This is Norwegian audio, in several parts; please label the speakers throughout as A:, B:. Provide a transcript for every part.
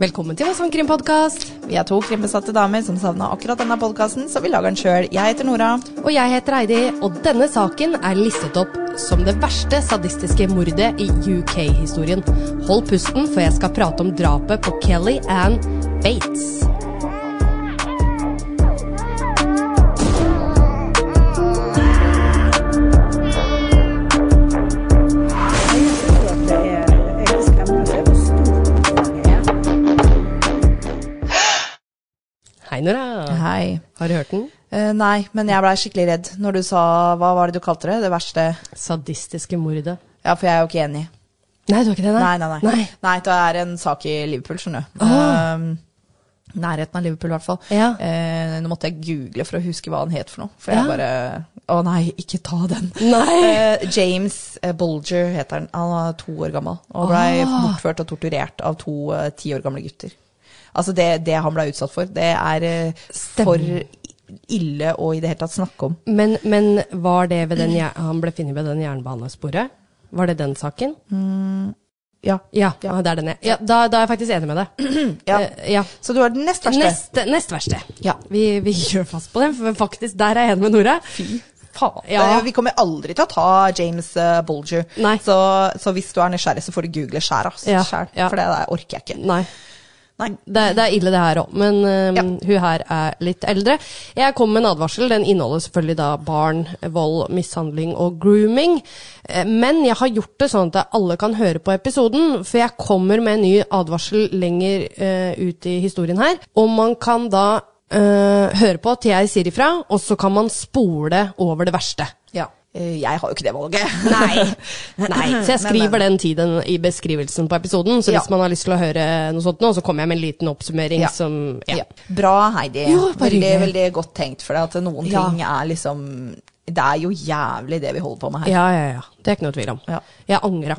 A: Velkommen til vår sangkrimpodkast.
B: Vi er to krimbesatte damer som savna akkurat denne podkasten, så vi lager den sjøl. Jeg heter Nora.
A: Og jeg heter Eidi, og denne saken er listet opp som det verste sadistiske mordet i UK-historien. Hold pusten, for jeg skal prate om drapet på Kelly Ann Bates. Hei, Nora.
B: Hei.
A: Har du hørt den?
B: Eh, nei, men jeg blei skikkelig redd når du sa Hva var det du kalte det? Det verste
A: Sadistiske mordet.
B: Ja, for jeg er jo ikke enig.
A: Nei, du har ikke det?
B: Nei, nei, nei. Nei, det er en sak i Liverpool, skjønner du. Ehm, nærheten av Liverpool, i hvert fall.
A: Ah. Ja.
B: Eh, nå måtte jeg google for å huske hva han het for noe. For
A: Ja.
B: jeg bare Å nei, ikke ta den.
A: Nei.
B: Eh, James eh, Bolger heter han. Han var to år gammel.
A: Ah.
B: Og blei bortført og torturert av to eh, ti år gamle gutter. Altså, det, det han blei utsatt for, det er eh, for ille å i det hele tatt snakke om.
A: Men, men var det ved den, jer- han ble funnet ved den jernbanesporet? Var det den saken?
B: Ja.
A: Ja,
B: Mm. Ja.
A: ah, det er den jeg. Ja, da, da er jeg faktisk enig med deg.
B: ja.
A: Eh, ja.
B: Så du har den nest verste.
A: Neste, nest verste.
B: Ja.
A: Vi, vi gjør fast på den, for faktisk, der er jeg enig med Nora.
B: Faen.
A: Ja.
B: Eh, Vi kommer aldri til å ta James eh, Bolger.
A: Nei.
B: Så, så hvis du er nysgjerrig, så får du google skjæra
A: Ja,
B: sjæl.
A: ja.
B: For det der orker jeg ikke.
A: Nei.
B: Nei.
A: Det, er- det er ille det her òg, men øhm,
B: Ja.
A: hun her er litt eldre. Jeg kom med en advarsel. Den inneholder selvfølgelig da barn, vold, mishandling og grooming. Eh, Men jeg har gjort det sånn at alle kan høre på episoden, for jeg kommer med en ny advarsel lenger eh, ut i historien her. Og man kan da eh, høre på til jeg sier ifra, og så kan man spole over det verste.
B: Ja. Eh, Jeg har jo ikke det valget.
A: Nei. Nei. Så jeg skriver
B: Men,
A: den tiden i beskrivelsen på episoden. Så hvis
B: Ja.
A: man har lyst til å høre noe sånt nå, så kommer jeg med en liten oppsummering
B: Ja.
A: som ja.
B: Ja. Bra, Heidi.
A: Jo, bare
B: veldig,
A: hyggelig.
B: veldig godt tenkt. For at noen
A: Ja.
B: ting er liksom Det er jo jævlig det vi holder på med her.
A: ja, ja, ja. Det er ikke noe tvil om.
B: Ja.
A: Jeg angra.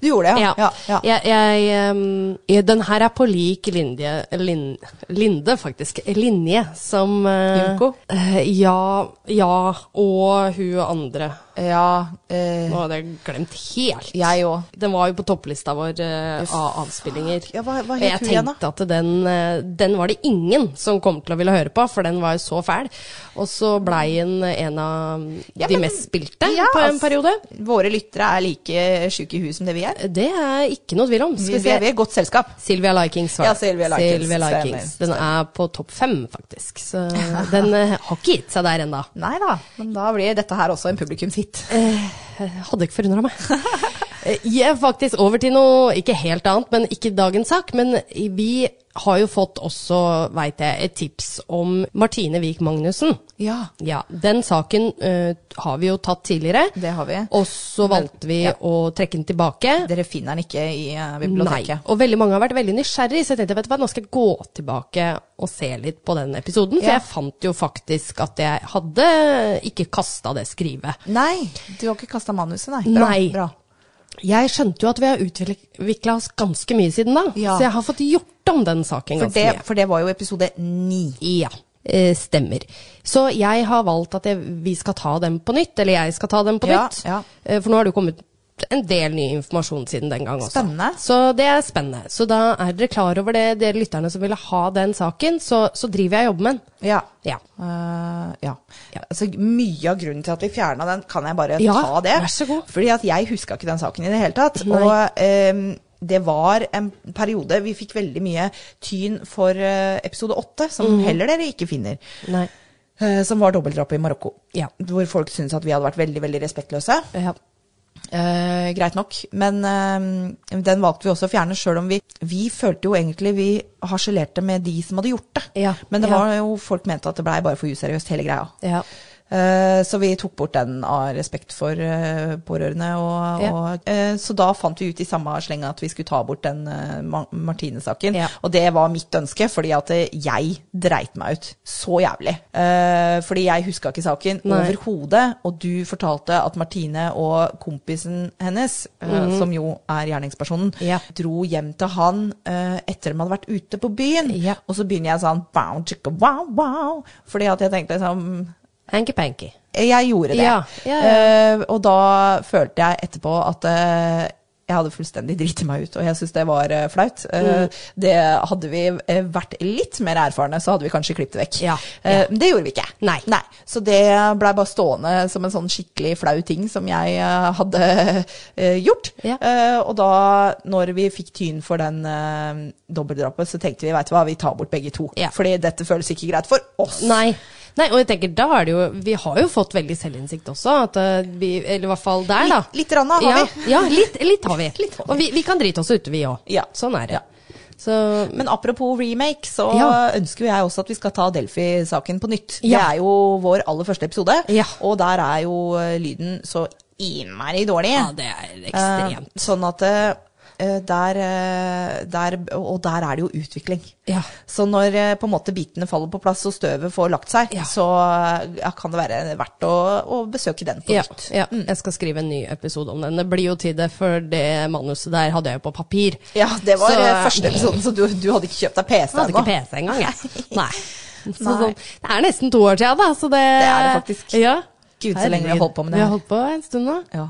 B: Du gjorde det, ja.
A: Ja.
B: ja. ja.
A: Jeg, jeg, ehm, jeg, den her er på lik linje, lin, linde, faktisk. Linje som eh,
B: Junko?
A: eh, ja, ja. Og hun andre.
B: Ja, eh,
A: Nå hadde jeg glemt helt.
B: jeg òg.
A: Den var jo på topplista vår eh, av avspillinger.
B: Ja, hva- hva
A: Og jeg
B: het hun igjen,
A: tenkte at den, eh, den var det ingen som kom til å ville høre på, for den var jo så fæl. Og så blei den en av mm,
B: Ja,
A: de
B: men-
A: mest spilte
B: Ja,
A: på en
B: ass.
A: periode.
B: Våre lyttere er like sjuke i huet som det vi er.
A: Det er ikke noe tvil om.
B: Vi,
A: Skal
B: vi,
A: vi se.
B: er, vi er godt selskap.
A: Sylvia Likings var det.
B: Ja, Sylvia Likings,
A: Sylvia Likings. Den er på topp fem, faktisk. Så den eh, har ikke gitt seg der ennå.
B: Nei da, men da blir dette her også en publikumshit.
A: Hadde ikke forundra meg. Eh, Jeg er faktisk over til noe ikke helt annet, men ikke dagens sak. Men vi har jo fått også, veit jeg, et tips om Martine Wiik Magnussen.
B: Ja.
A: Ja, den saken eh, har vi jo tatt tidligere.
B: Det har vi.
A: Og så valgte vi å trekke den tilbake.
B: Dere finner den ikke i eh,
A: Nei.
B: biblioteket.
A: Og veldig mange har vært veldig nysgjerrig, så jeg tenkte vet du hva, nå skal jeg gå tilbake og se litt på den episoden. For
B: Ja.
A: jeg fant jo faktisk at jeg hadde ikke kasta det skrivet.
B: Nei. du har ikke kasta manuset, nei. Bra,
A: Nei.
B: Bra.
A: Jeg skjønte jo at vi har utvikla oss ganske mye siden da,
B: Ja.
A: så jeg har fått gjort om den saken
B: For,
A: ganske
B: det,
A: mye.
B: for det var jo episode ni.
A: Ja, eh, stemmer. Så jeg har valgt at jeg, vi skal ta den på nytt, eller jeg skal ta den på
B: Ja,
A: nytt.
B: ja.
A: Eh, For nå har det jo kommet en del ny informasjon siden den gang også.
B: Spennende.
A: Så det er spennende. Så da er dere klar over det, dere lytterne som ville ha den saken, så, så driver jeg og jobber med den.
B: Ja.
A: Ja.
B: Eh, ja.
A: Ja.
B: Altså, mye av grunnen til at vi fjerna den, kan jeg bare
A: Ja,
B: ta det?
A: vær så god.
B: Fordi at jeg huska ikke den saken i det hele tatt.
A: Nei.
B: Og ehm, det var en periode vi fikk veldig mye tyn for eh, episode åtte, som
A: Mhm.
B: heller dere ikke finner.
A: Nei.
B: eh, som var dobbeltdrapet i Marokko.
A: Ja.
B: Hvor folk syntes at vi hadde vært veldig veldig respektløse.
A: Ja.
B: Eh, greit nok. Men eh, den valgte vi også å fjerne, sjøl om vi Vi følte jo egentlig vi harselerte med de som hadde gjort det.
A: Ja,
B: Men det
A: ja.
B: var jo folk mente at det blei bare for useriøst, hele greia.
A: Ja.
B: Eh, Så vi tok bort den av respekt for eh, pårørende. Og,
A: Ja.
B: og, eh, så da fant vi ut i samme sleng at vi skulle ta bort den eh, Ma- Martine-saken.
A: Ja.
B: Og det var mitt ønske, fordi at eh, jeg dreit meg ut så jævlig. Eh, Fordi jeg huska ikke saken
A: Nei.
B: overhodet. Og du fortalte at Martine og kompisen hennes, eh, som jo er gjerningspersonen,
A: Mhm. Ja.
B: dro hjem til han eh, etter de hadde vært ute på byen.
A: Ja.
B: Og så begynner jeg sånn wow, chicka, wow, wow. Fordi at jeg tenkte sånn
A: Hanky-panky.
B: jeg gjorde det.
A: Ja, ja,
B: Eh, og da følte jeg etterpå at eh, jeg hadde fullstendig driti meg ut, og jeg syns det var eh, flaut.
A: Mm.
B: Eh, Det hadde vi eh, vært litt mer erfarne, så hadde vi kanskje klippet det vekk.
A: Ja,
B: Eh, men Det gjorde vi ikke.
A: Nei.
B: Så det blei bare stående som en sånn skikkelig flau ting som jeg eh, hadde eh, gjort.
A: Ja.
B: Eh, Og da, når vi fikk tyn for den eh, dobbeltdrapet, så tenkte vi, veit du hva, vi tar bort begge to.
A: Ja.
B: Fordi dette føles ikke greit for oss.
A: Nei. Nei, og jeg tenker, da er det jo Vi har jo fått veldig selvinnsikt også, at eh, vi Eller i hvert fall der, da.
B: Litt- litt grann har
A: ja,
B: vi.
A: Ja, litt, litt har vi.
B: Litt har vi.
A: Og vi, vi kan drite oss ute, vi òg.
B: Ja.
A: Sånn er det.
B: Ja.
A: Så
B: Men apropos remake, så
A: Ja.
B: ønsker jo jeg også at vi skal ta Delphi-saken på nytt. Det
A: Ja.
B: er jo vår aller første episode,
A: Ja.
B: og der er jo eh, lyden så innmari dårlig.
A: Ja, det er ekstremt.
B: Eh, sånn at eh, der, eh, der Og der er det jo utvikling.
A: Ja.
B: Så når eh, på en måte bitene faller på plass og støvet får lagt seg,
A: Ja.
B: så eh, ja, kan det være verdt å, å besøke den på
A: Ja,
B: nytt.
A: ja, jeg skal skrive en ny episode om den. Det blir jo til det, for det manuset der hadde jeg jo på papir.
B: Ja, det var
A: Så-
B: eh, første episoden, så du, du hadde ikke kjøpt deg PC
A: Jeg hadde ikke
B: ennå.
A: PC engang, jeg. Nei. Så,
B: Nei.
A: sånn, det er nesten to år siden, da. Så det,
B: er det faktisk.
A: Ja.
B: Gud, så lenge vi har holdt på med det
A: Vi
B: her.
A: har holdt på en stund nå.
B: Ja.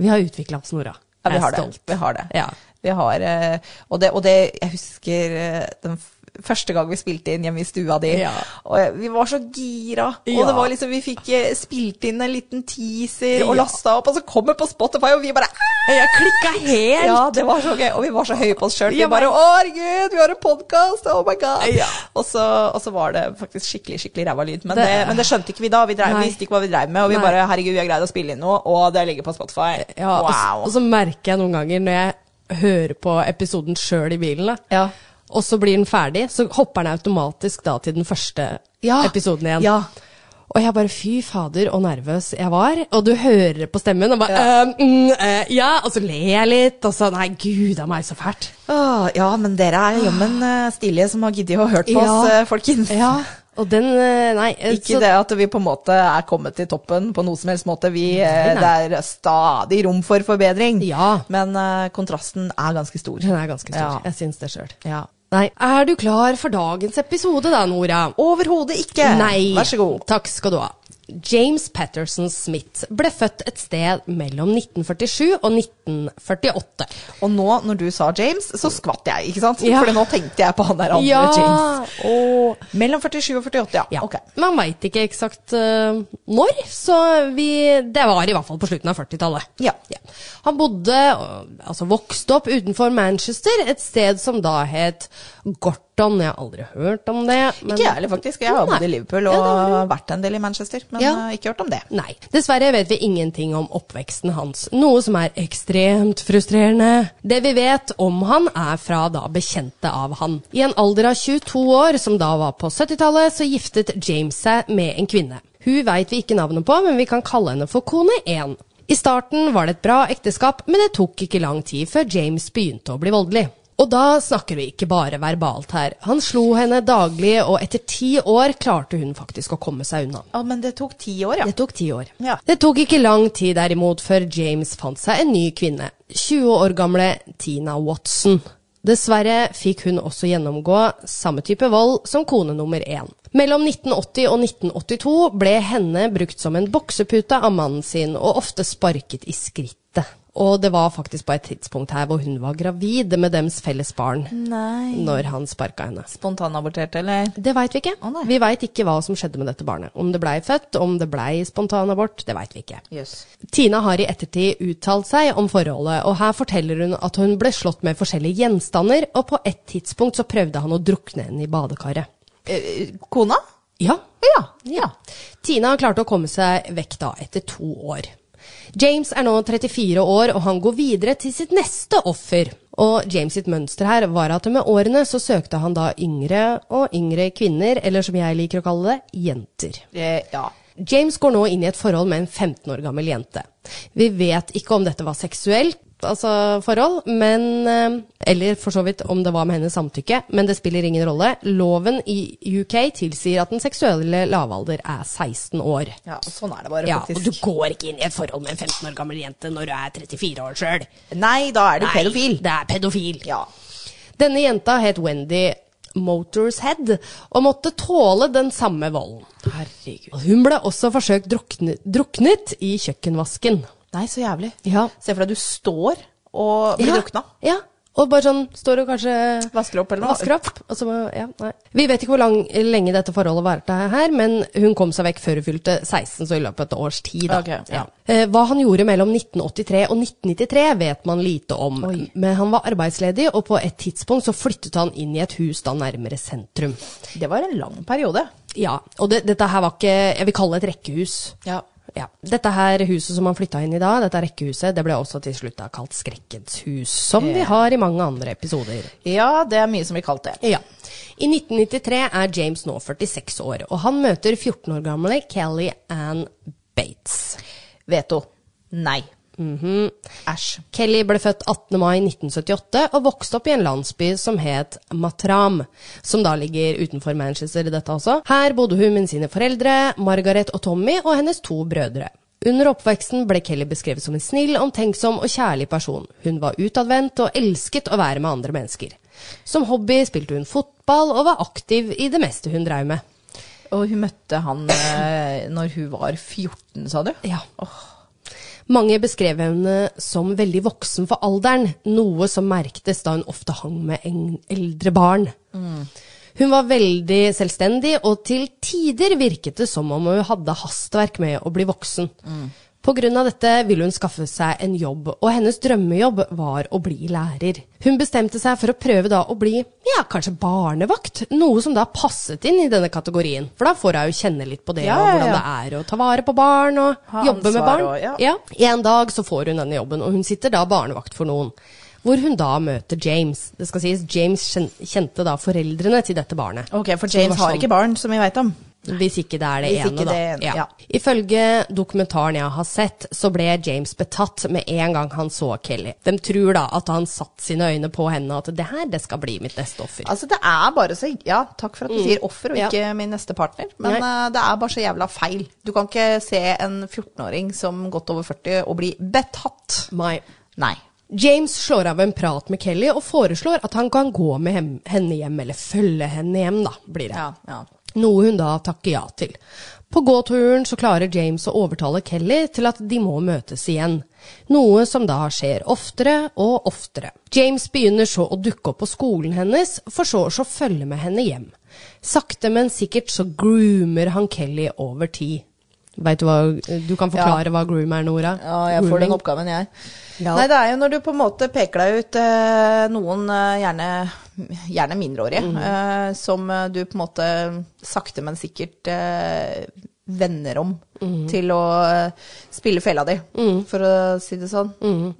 A: Vi har utvikla oss, Nora.
B: Ja, vi
A: Jeg er
B: har det.
A: stolt.
B: Vi har det.
A: Ja.
B: Vi har, eh, og, det og det Jeg husker eh, den f- første gang vi spilte inn hjemme i stua di,
A: Ja.
B: og jeg- vi var så gira. Og
A: Ja.
B: det var liksom, vi fikk eh, spilt inn en liten teaser og
A: Ja.
B: lasta opp, og så kommer på Spotify, og vi bare "Ah!"
A: Jeg klikka helt!
B: Ja, det var så gøy. Og vi var så høye på oss sjøl. Vi
A: Ja, men-
B: bare Å, herregud, vi har en podkast! Oh my god!
A: Ja.
B: Og, så, og så var det faktisk skikkelig skikkelig ræva lyd. Men det,
A: Det-
B: men det skjønte ikke vi da. Vi, drev,
A: Nei.
B: vi visste ikke hva vi dreiv med, og vi
A: Nei.
B: bare Herregud, vi har greid å spille inn noe, og det ligger på Spotify.
A: Ja, og, så,
B: wow.
A: og så merker jeg noen ganger når jeg hører på episoden sjøl i bilen, da,
B: Ja.
A: og så blir den ferdig, så hopper den automatisk da til den første
B: Ja.
A: episoden igjen.
B: Ja.
A: Og jeg bare fy fader, og nervøs jeg var. Og du hører det på stemmen, og bare
B: Ja.
A: «Øhm, mm, eh, ja. Og så ler jeg litt, og så nei, gud a meg, så fælt.
B: Åh, ja, men dere er jammen eh, stilige som har giddet å hørt på
A: Ja.
B: oss, eh, folkens.
A: Ja, og den eh, Nei. eh,
B: Ikke
A: så-
B: det at vi på en måte er kommet til toppen på noe som helst måte. Vi,
A: Nei,
B: eh,
A: nei.
B: Det er stadig rom for forbedring.
A: Ja.
B: Men eh, kontrasten er ganske stor.
A: Den er ganske stor.
B: Ja.
A: Jeg syns det sjøl.
B: Ja.
A: Nei. Er du klar for dagens episode da, Nora?
B: Overhodet ikke.
A: Nei.
B: Vær så god.
A: Takk skal du ha. James Patterson Smith ble født et sted mellom 1947 og 1948.
B: Og nå, når du sa James, så skvatt jeg, ikke sant?
A: Ja.
B: For nå tenkte jeg på han der andre James.
A: og
B: Mellom 47 og 48, ja.
A: ja.
B: Ok.
A: Man veit ikke eksakt eh, når, så vi, det var i hvert fall på slutten av 40-tallet.
B: Ja.
A: Han bodde, og- altså vokste opp utenfor Manchester, et sted som da het Gorton. Jeg har aldri hørt om det. men-
B: Ikke jeg heller, faktisk. Jeg har
A: Nei.
B: bodd i Liverpool og
A: Ja, det har
B: vært en del i Manchester, men
A: Ja.
B: eh, ikke hørt om det.
A: Nei. Dessverre vet vi ingenting om oppveksten hans, noe som er ekstremt frustrerende. Det vi vet om han, er fra da bekjente av han. I en alder av 22 år, som da var på 70-tallet, så giftet James seg med en kvinne. Hun veit vi ikke navnet på, men vi kan kalle henne for kone 1. I starten var det et bra ekteskap, men det tok ikke lang tid før James begynte å bli voldelig. Og da snakker vi ikke bare verbalt her. Han slo henne daglig, og etter ti år klarte hun faktisk å komme seg unna.
B: Å, men det tok ti år, ja.
A: Det tok ti år.
B: Ja.
A: Det tok ikke lang tid derimot før James fant seg en ny kvinne. 20 år gamle Tina Watson. Dessverre fikk hun også gjennomgå samme type vold som kone nummer én. Mellom 1980 og 1982 ble henne brukt som en boksepute av mannen sin, og ofte sparket i skrittet. Og det var faktisk på et tidspunkt her hvor hun var gravid med dems felles barn,
B: Nei.
A: når han sparka henne.
B: Spontanabortert, eller?
A: Det veit vi ikke.
B: Å, nei.
A: vi veit ikke hva som skjedde med dette barnet. Om det blei født, om det blei spontanabort, det veit vi ikke.
B: Jøss.
A: Tina har i ettertid uttalt seg om forholdet, og her forteller hun at hun ble slått med forskjellige gjenstander, og på et tidspunkt så prøvde han å drukne henne i badekaret.
B: Eh, Kona?
A: Ja.
B: Ja.
A: ja. Tina klarte å komme seg vekk da, etter to år. James er nå 34 år, og han går videre til sitt neste offer. Og James sitt mønster her var at med årene så søkte han da yngre og yngre kvinner, eller som jeg liker å kalle det, jenter.
B: Eh, ja.
A: James går nå inn i et forhold med en 15 år gammel jente. Vi vet ikke om dette var seksuelt altså forhold, men eh, Eller for så vidt om det var med hennes samtykke, men det spiller ingen rolle. Loven i UK tilsier at den seksuelle lavalder er 16 år.
B: ja. Sånn er det bare,
A: Ja, og du
B: faktisk.
A: går ikke inn i et forhold med en 15 år gammel jente når du er 34 år sjøl.
B: Nei, da er du pedofil.
A: Det er pedofil.
B: Ja.
A: Denne jenta het Wendy Motorshead og måtte tåle den samme volden.
B: Herregud.
A: Og Hun ble også forsøkt drukne, druknet i kjøkkenvasken.
B: Nei, så jævlig.
A: Ja.
B: Se for deg du står og blir
A: Ja,
B: drukna.
A: Ja. Og bare sånn står og kanskje
B: Vasker opp eller noe.
A: vasker opp. Og så, må- ja, nei. Vi vet ikke hvor lang, lenge dette forholdet varte her, men hun kom seg vekk før hun fylte 16, så i løpet av et års tid. Da.
B: Ok, ja.
A: Eh, Hva han gjorde mellom 1983 og 1993 vet man lite om,
B: Oi.
A: men han var arbeidsledig, og på et tidspunkt så flyttet han inn i et hus da nærmere sentrum.
B: Det var en lang periode.
A: Ja, og det, dette her var ikke, jeg vil kalle det et rekkehus.
B: Ja.
A: Ja. Dette her huset som han flytta inn i da, dette rekkehuset, det ble også til slutt da kalt Skrekkens hus, som vi
B: Ja.
A: har i mange andre episoder.
B: det er mye som blir kalt det.
A: Ja. I 1993 er James nå 46 år, og han møter 14 år gamle Kelly Ann Bates.
B: Veto. Nei.
A: Mhm.
B: Æsj.
A: Kelly ble født 18. mai 1978 og vokste opp i en landsby som het Matram, som da ligger utenfor Manchester, dette også. Her bodde hun med sine foreldre, Margaret og Tommy, og hennes to brødre. Under oppveksten ble Kelly beskrevet som en snill, omtenksom og kjærlig person. Hun var utadvendt og elsket å være med andre mennesker. Som hobby spilte hun fotball og var aktiv i det meste hun drev med.
B: Og hun møtte han eh, når hun var 14, sa du?
A: Ja. Mange beskrev henne som veldig voksen for alderen, noe som merktes da hun ofte hang med en eldre barn.
B: Mm.
A: Hun var veldig selvstendig, og til tider virket det som om hun hadde hastverk med å bli voksen.
B: Mm.
A: På grunn av dette ville hun skaffe seg en jobb, og hennes drømmejobb var å bli lærer. Hun bestemte seg for å prøve da å bli, ja, kanskje barnevakt, noe som da passet inn i denne kategorien, for da får jeg jo kjenne litt på det,
B: Ja,
A: og
B: ja,
A: hvordan
B: ja.
A: det er å ta vare på barn, og
B: Ha
A: jobbe med
B: ansvar
A: barn.
B: og- ja.
A: Ja. En dag så får hun denne jobben, og hun sitter da barnevakt for noen. Hvor hun da møter James. Det skal sies, James kjen- kjente da foreldrene til dette barnet.
B: Ok, for
A: Så det
B: James
A: var
B: har
A: sånn-
B: ikke barn, som vi veit om.
A: Hvis ikke det er det
B: Hvis
A: ene, da.
B: ikke det ene, ja.
A: Ifølge dokumentaren jeg har sett, så ble James betatt med en gang han så Kelly. De tror da at han satt sine øyne på henne, og at det her, det skal bli mitt neste offer.
B: Altså, det er bare så Ja, takk for at du sier offer og
A: Ja.
B: ikke min neste partner, men eh, det er bare så jævla feil. Du kan ikke se en 14-åring som godt over 40 og bli betatt.
A: My.
B: Nei.
A: James slår av en prat med Kelly og foreslår at han kan gå med hem, henne hjem, eller følge henne hjem, da, blir det.
B: Ja, ja.
A: Noe hun da takker ja til. På gåturen så klarer James å overtale Kelly til at de må møtes igjen. Noe som da skjer oftere og oftere. James begynner så å dukke opp på skolen hennes, for så å så følge med henne hjem. Sakte, men sikkert så groomer han Kelly over tid. Vet du hva Du kan forklare hva groom er, Nora?
B: Ja, jeg får den
A: Grooming.
B: oppgaven, jeg.
A: Ja.
B: Nei, det er jo når du på en måte peker deg ut eh, noen eh, gjerne, gjerne mindreårige,
A: Mm.
B: eh, som eh, du på en måte sakte, men sikkert eh, vender om
A: Mm.
B: til å eh, spille fella di, for å si det sånn.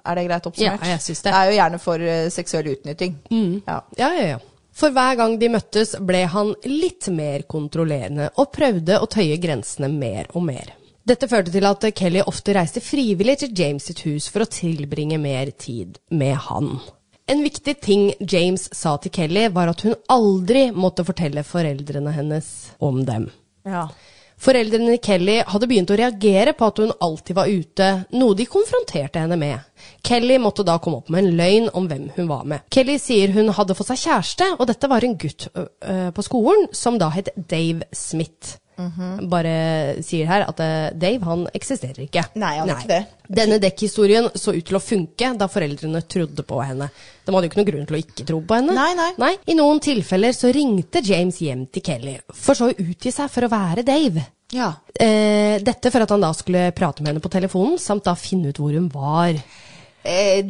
B: Er det greit oppsummert?
A: Mm. Ja, jeg synes det. Mm.
B: Det er jo gjerne for eh, seksuell utnytting. Ja.
A: Ja, ja, ja. For hver gang de møttes, ble han litt mer kontrollerende og prøvde å tøye grensene mer og mer. Dette førte til at Kelly ofte reiste frivillig til James sitt hus for å tilbringe mer tid med han. En viktig ting James sa til Kelly, var at hun aldri måtte fortelle foreldrene hennes om dem.
B: Ja.
A: Foreldrene Kelly hadde begynt å reagere på at hun alltid var ute, noe de konfronterte henne med. Kelly måtte da komme opp med en løgn om hvem hun var med. Kelly sier hun hadde fått seg kjæreste, og dette var en gutt ø, ø, på skolen som da het Dave Smith.
B: Mhm.
A: Bare sier her at ø, Dave han eksisterer ikke.
B: Nei, han gjør ikke det.
A: Denne dekkhistorien så ut til å funke da foreldrene trodde på henne. De hadde jo ikke noen grunn til å ikke tro på henne.
B: Nei, nei.
A: I noen tilfeller så ringte James hjem til Kelly, for så å utgi seg for å være Dave.
B: ja.
A: Eh, dette for at han da skulle prate med henne på telefonen, samt da finne ut hvor hun var.
B: Eh,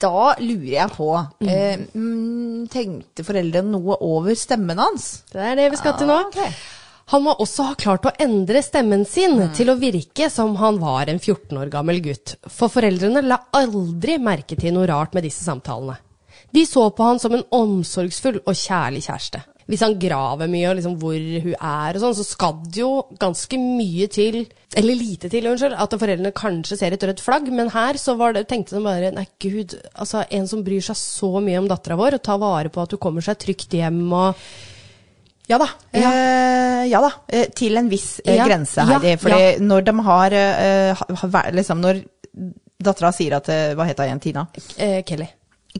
B: da lurer jeg på eh, mm, Tenkte foreldrene noe over stemmen hans?
A: Det er det vi skal til nå.
B: Ah, ok. Mm.
A: Han må også ha klart å endre stemmen sin til å virke som han var en 14 år gammel gutt, for foreldrene la aldri merke til noe rart med disse samtalene. De så på han som en omsorgsfull og kjærlig kjæreste. Hvis han graver mye og liksom hvor hun er og sånn, så skal det jo ganske mye til, eller lite til, unnskyld, at foreldrene kanskje ser et rødt flagg, men her så var det, tenkte de bare, nei gud, altså en som bryr seg så mye om datteren vår, og tar vare på at hun kommer seg trygt hjem og
B: Ja da.
A: Ja.
B: Eh, ja da. Eh, til en viss eh,
A: Ja.
B: grense,
A: Ja,
B: Heidi. Fordi når de har eh, ha- ha, væ- liksom Når dattera sier at eh, Hva heter hun igjen? Tina?
A: eh, Kelly.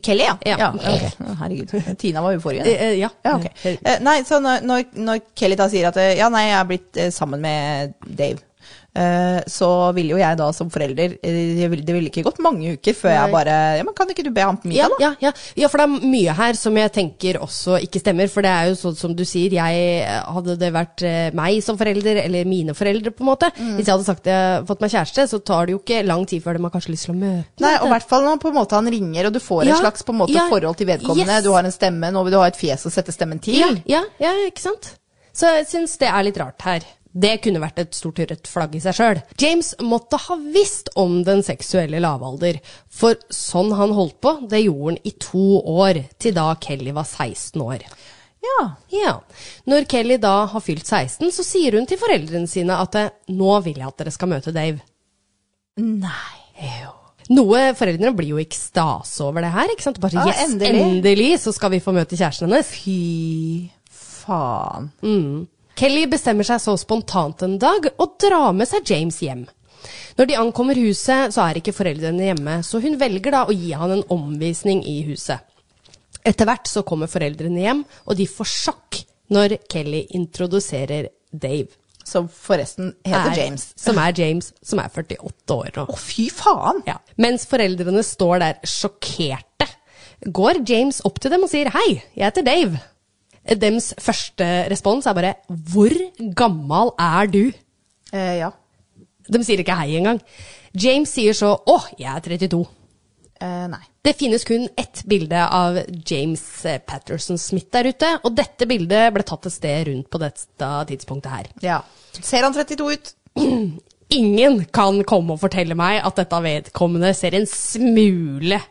B: Kelly, ja.
A: Ja.
B: ok. Å, Herregud. Tina var jo forrige.
A: Eh, eh, ja.
B: Ja, ok. Eh, Nei, så når, når, når Kelly da sier at eh, Ja, nei, jeg er blitt eh, sammen med Dave. eh, så ville jo jeg da som forelder eh, Det ville det ville ikke gått mange uker før jeg
A: Nei.
B: bare Ja, men kan ikke du be ham på
A: Ja,
B: middag, da?
A: ja, ja. ja, for det er mye her som jeg tenker også ikke stemmer. For det er jo sånn som du sier, jeg hadde det vært eh, meg som forelder, eller mine foreldre, på en måte.
B: Mm.
A: Hvis jeg hadde sagt jeg har fått meg kjæreste, så tar det jo ikke lang tid før de har kanskje lyst til å møte.
B: Nei, og i hvert fall når på en måte han ringer, og du får
A: Ja,
B: et slags på en måte
A: ja,
B: forhold til vedkommende.
A: yes.
B: Du har en stemme, nå vil du ha et fjes å sette stemmen til.
A: Ja, ja, ja, ikke sant? Så jeg syns det er litt rart her. Det kunne vært et stort rødt flagg i seg sjøl. James måtte ha visst om den seksuelle lavalder, for sånn han holdt på, det gjorde han i to år, til da Kelly var 16 år.
B: Ja.
A: Ja. Når Kelly da har fylt 16, så sier hun til foreldrene sine at eh, nå vil jeg at dere skal møte Dave.
B: Nei.
A: Jo. Noe Foreldrene blir jo i ekstase over det her. ikke sant? Bare
B: Ja,
A: yes, endelig.
B: endelig.
A: så skal vi få møte kjæresten hennes.
B: Fy faen.
A: Kelly bestemmer seg så spontant en dag og drar med seg James hjem. Når de ankommer huset, så er ikke foreldrene hjemme, så hun velger da å gi han en omvisning i huset. Etter hvert så kommer foreldrene hjem, og de får sjokk når Kelly introduserer Dave.
B: Som forresten heter
A: er-
B: James.
A: Som er James, som er 48 år nå.
B: Å, fy faen!
A: Ja. Mens foreldrene står der sjokkerte, går James opp til dem og sier hei, jeg heter Dave. Dems første respons er bare hvor gammal er du?
B: Eh, ja.
A: De sier ikke hei engang. James sier så å, jeg er 32.
B: Eh, nei.
A: Det finnes kun ett bilde av James eh, Patterson Smith der ute, og dette bildet ble tatt et sted rundt på dette tidspunktet her.
B: Ja. Ser han 32 ut?
A: Ingen kan komme og fortelle meg at dette vedkommende ser en smule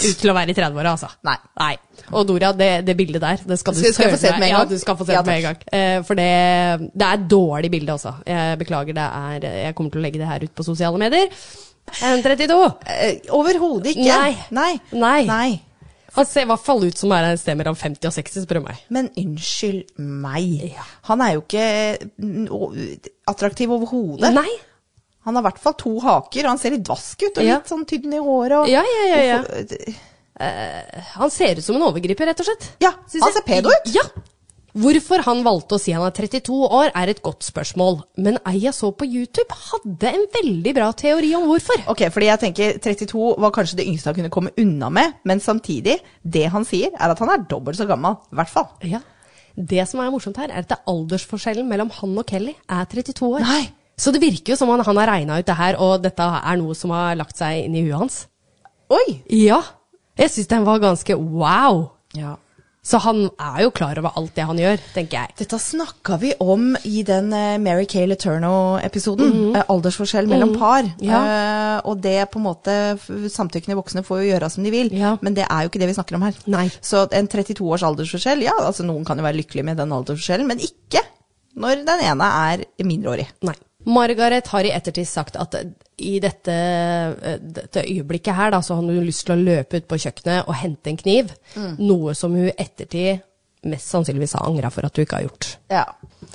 A: ut til å være i 30-åra, altså.
B: Nei.
A: Og Dora, det, det bildet der, det skal du
B: Skal- skal jeg få se
A: søren
B: det med en
A: meg-
B: gang?
A: Ja, du skal få se
B: Ja,
A: det med en gang. Eh, for det, det er et dårlig bilde, altså. Jeg beklager, det er Jeg kommer til å legge det her ut på sosiale medier. En 32!
B: Eh, Overhodet ikke.
A: Nei.
B: Nei.
A: Nei. Han ser i hvert fall ut som er en sted mellom 50 og 60, spør du meg.
B: Men unnskyld meg.
A: Ja.
B: Han er jo ikke mm, o- attraktiv overhodet.
A: Nei.
B: Han har i hvert fall to haker, og han ser litt vask ut og
A: Ja.
B: litt sånn tynn i håret. Og...
A: Ja, ja, ja, ja.
B: Hvorfor-
A: Han ser ut som en overgriper, rett og slett.
B: Ja,
A: Synes
B: han
A: jeg.
B: ser pedo ut.
A: Ja. Hvorfor han valgte å si han er 32 år, er et godt spørsmål. Men ei jeg så på YouTube, hadde en veldig bra teori om hvorfor.
B: Ok, fordi jeg tenker 32 var kanskje det yngste han kunne komme unna med, men samtidig, det han sier, er at han er dobbelt så gammel, i hvert fall.
A: Ja. Det som er morsomt her, er at det er aldersforskjellen mellom han og Kelly er 32 år.
B: Nei.
A: Så det virker jo som han, han har regna ut det her, og dette er noe som har lagt seg inn i huet hans.
B: Oi!
A: Ja. Jeg syns den var ganske wow. Så han er jo klar over alt det han gjør, tenker jeg.
B: Dette snakka vi om i den eh, Mary Kay Leturno-episoden. eh, Aldersforskjell mellom par. Eh, og det på en måte f- Samtykkende voksne får jo gjøre som de vil,
A: Ja.
B: men det er jo ikke det vi snakker om her.
A: Nei.
B: Så en 32 års aldersforskjell, ja, altså noen kan jo være lykkelig med den aldersforskjellen, men ikke når den ene er mindreårig.
A: Nei. Margaret har i ettertid sagt at i dette, eh, dette øyeblikket her, da, så hadde hun lyst til å løpe ut på kjøkkenet og hente en kniv. Noe som hun i ettertid mest sannsynligvis har angra for at hun ikke har gjort.
B: Ja.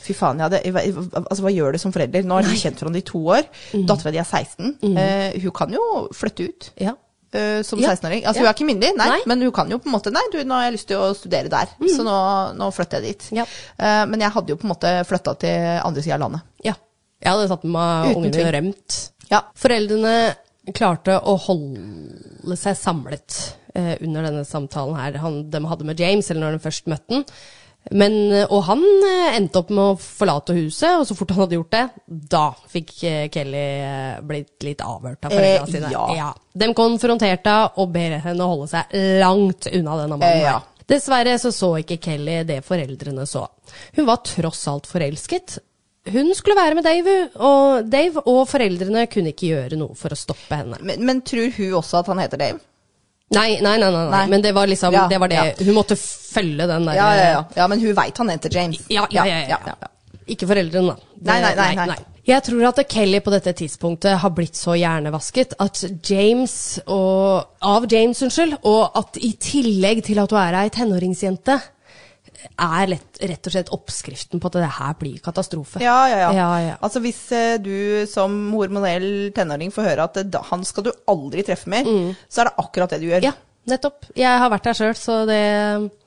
B: Fy faen, ja, det, altså, hva gjør det som forelder? Nå har de kjent hverandre i to år.
A: Mm.
B: Dattera di er 16. Eh, hun kan jo flytte ut.
A: Ja.
B: eh, som
A: Ja.
B: 16-åring. Altså,
A: Ja.
B: Hun er ikke myndig, nei,
A: Nei. Mm.
B: men hun kan jo på en måte Nei, du, nå har jeg lyst til å studere der, så nå, nå flytter jeg dit.
A: Ja.
B: Eh, men jeg hadde jo på en måte flytta til andre sida av landet.
A: ja. Jeg hadde tatt med meg
B: Uten
A: ungene
B: tvil.
A: og rømt.
B: Ja.
A: Foreldrene klarte å holde seg samlet eh, under denne samtalen her han, de hadde med James, eller når de først møtte han. Men, eh, og han eh, endte opp med å forlate huset, og så fort han hadde gjort det, da fikk eh, Kelly eh, blitt litt avhørt av
B: Eh,
A: foreldrene sine.
B: ja.
A: De konfronterte henne og ber henne holde seg langt unna denne mannen.
B: Eh, ja.
A: her. Dessverre så så ikke Kelly det foreldrene så. Hun var tross alt forelsket. Hun skulle være med Dave og, Dave, og foreldrene kunne ikke gjøre noe for å stoppe henne.
B: Men, men tror hun også at han heter Dave?
A: Nei, nei, nei, nei, nei.
B: Nei.
A: men det var liksom
B: Ja,
A: det var det.
B: ja.
A: Hun måtte følge den der
B: Ja, ja, ja. Eh, ja men hun veit han heter James.
A: Ja, ja, ja, ja, ja. Ikke foreldrene, da. Det-
B: Nei, nei, nei, nei.
A: Jeg tror at Kelly på dette tidspunktet har blitt så hjernevasket at James og, av James, unnskyld, og at i tillegg til at hun er ei tenåringsjente, er lett, rett og slett oppskriften på at det her blir katastrofe.
B: Ja, ja, ja.
A: Ja, ja.
B: Altså Hvis eh, du som hormonell tenåring får høre at eh, da, han skal du aldri
A: Mm.
B: treffe mer, så er det akkurat det du gjør.
A: Ja, nettopp. Jeg har vært der sjøl, så det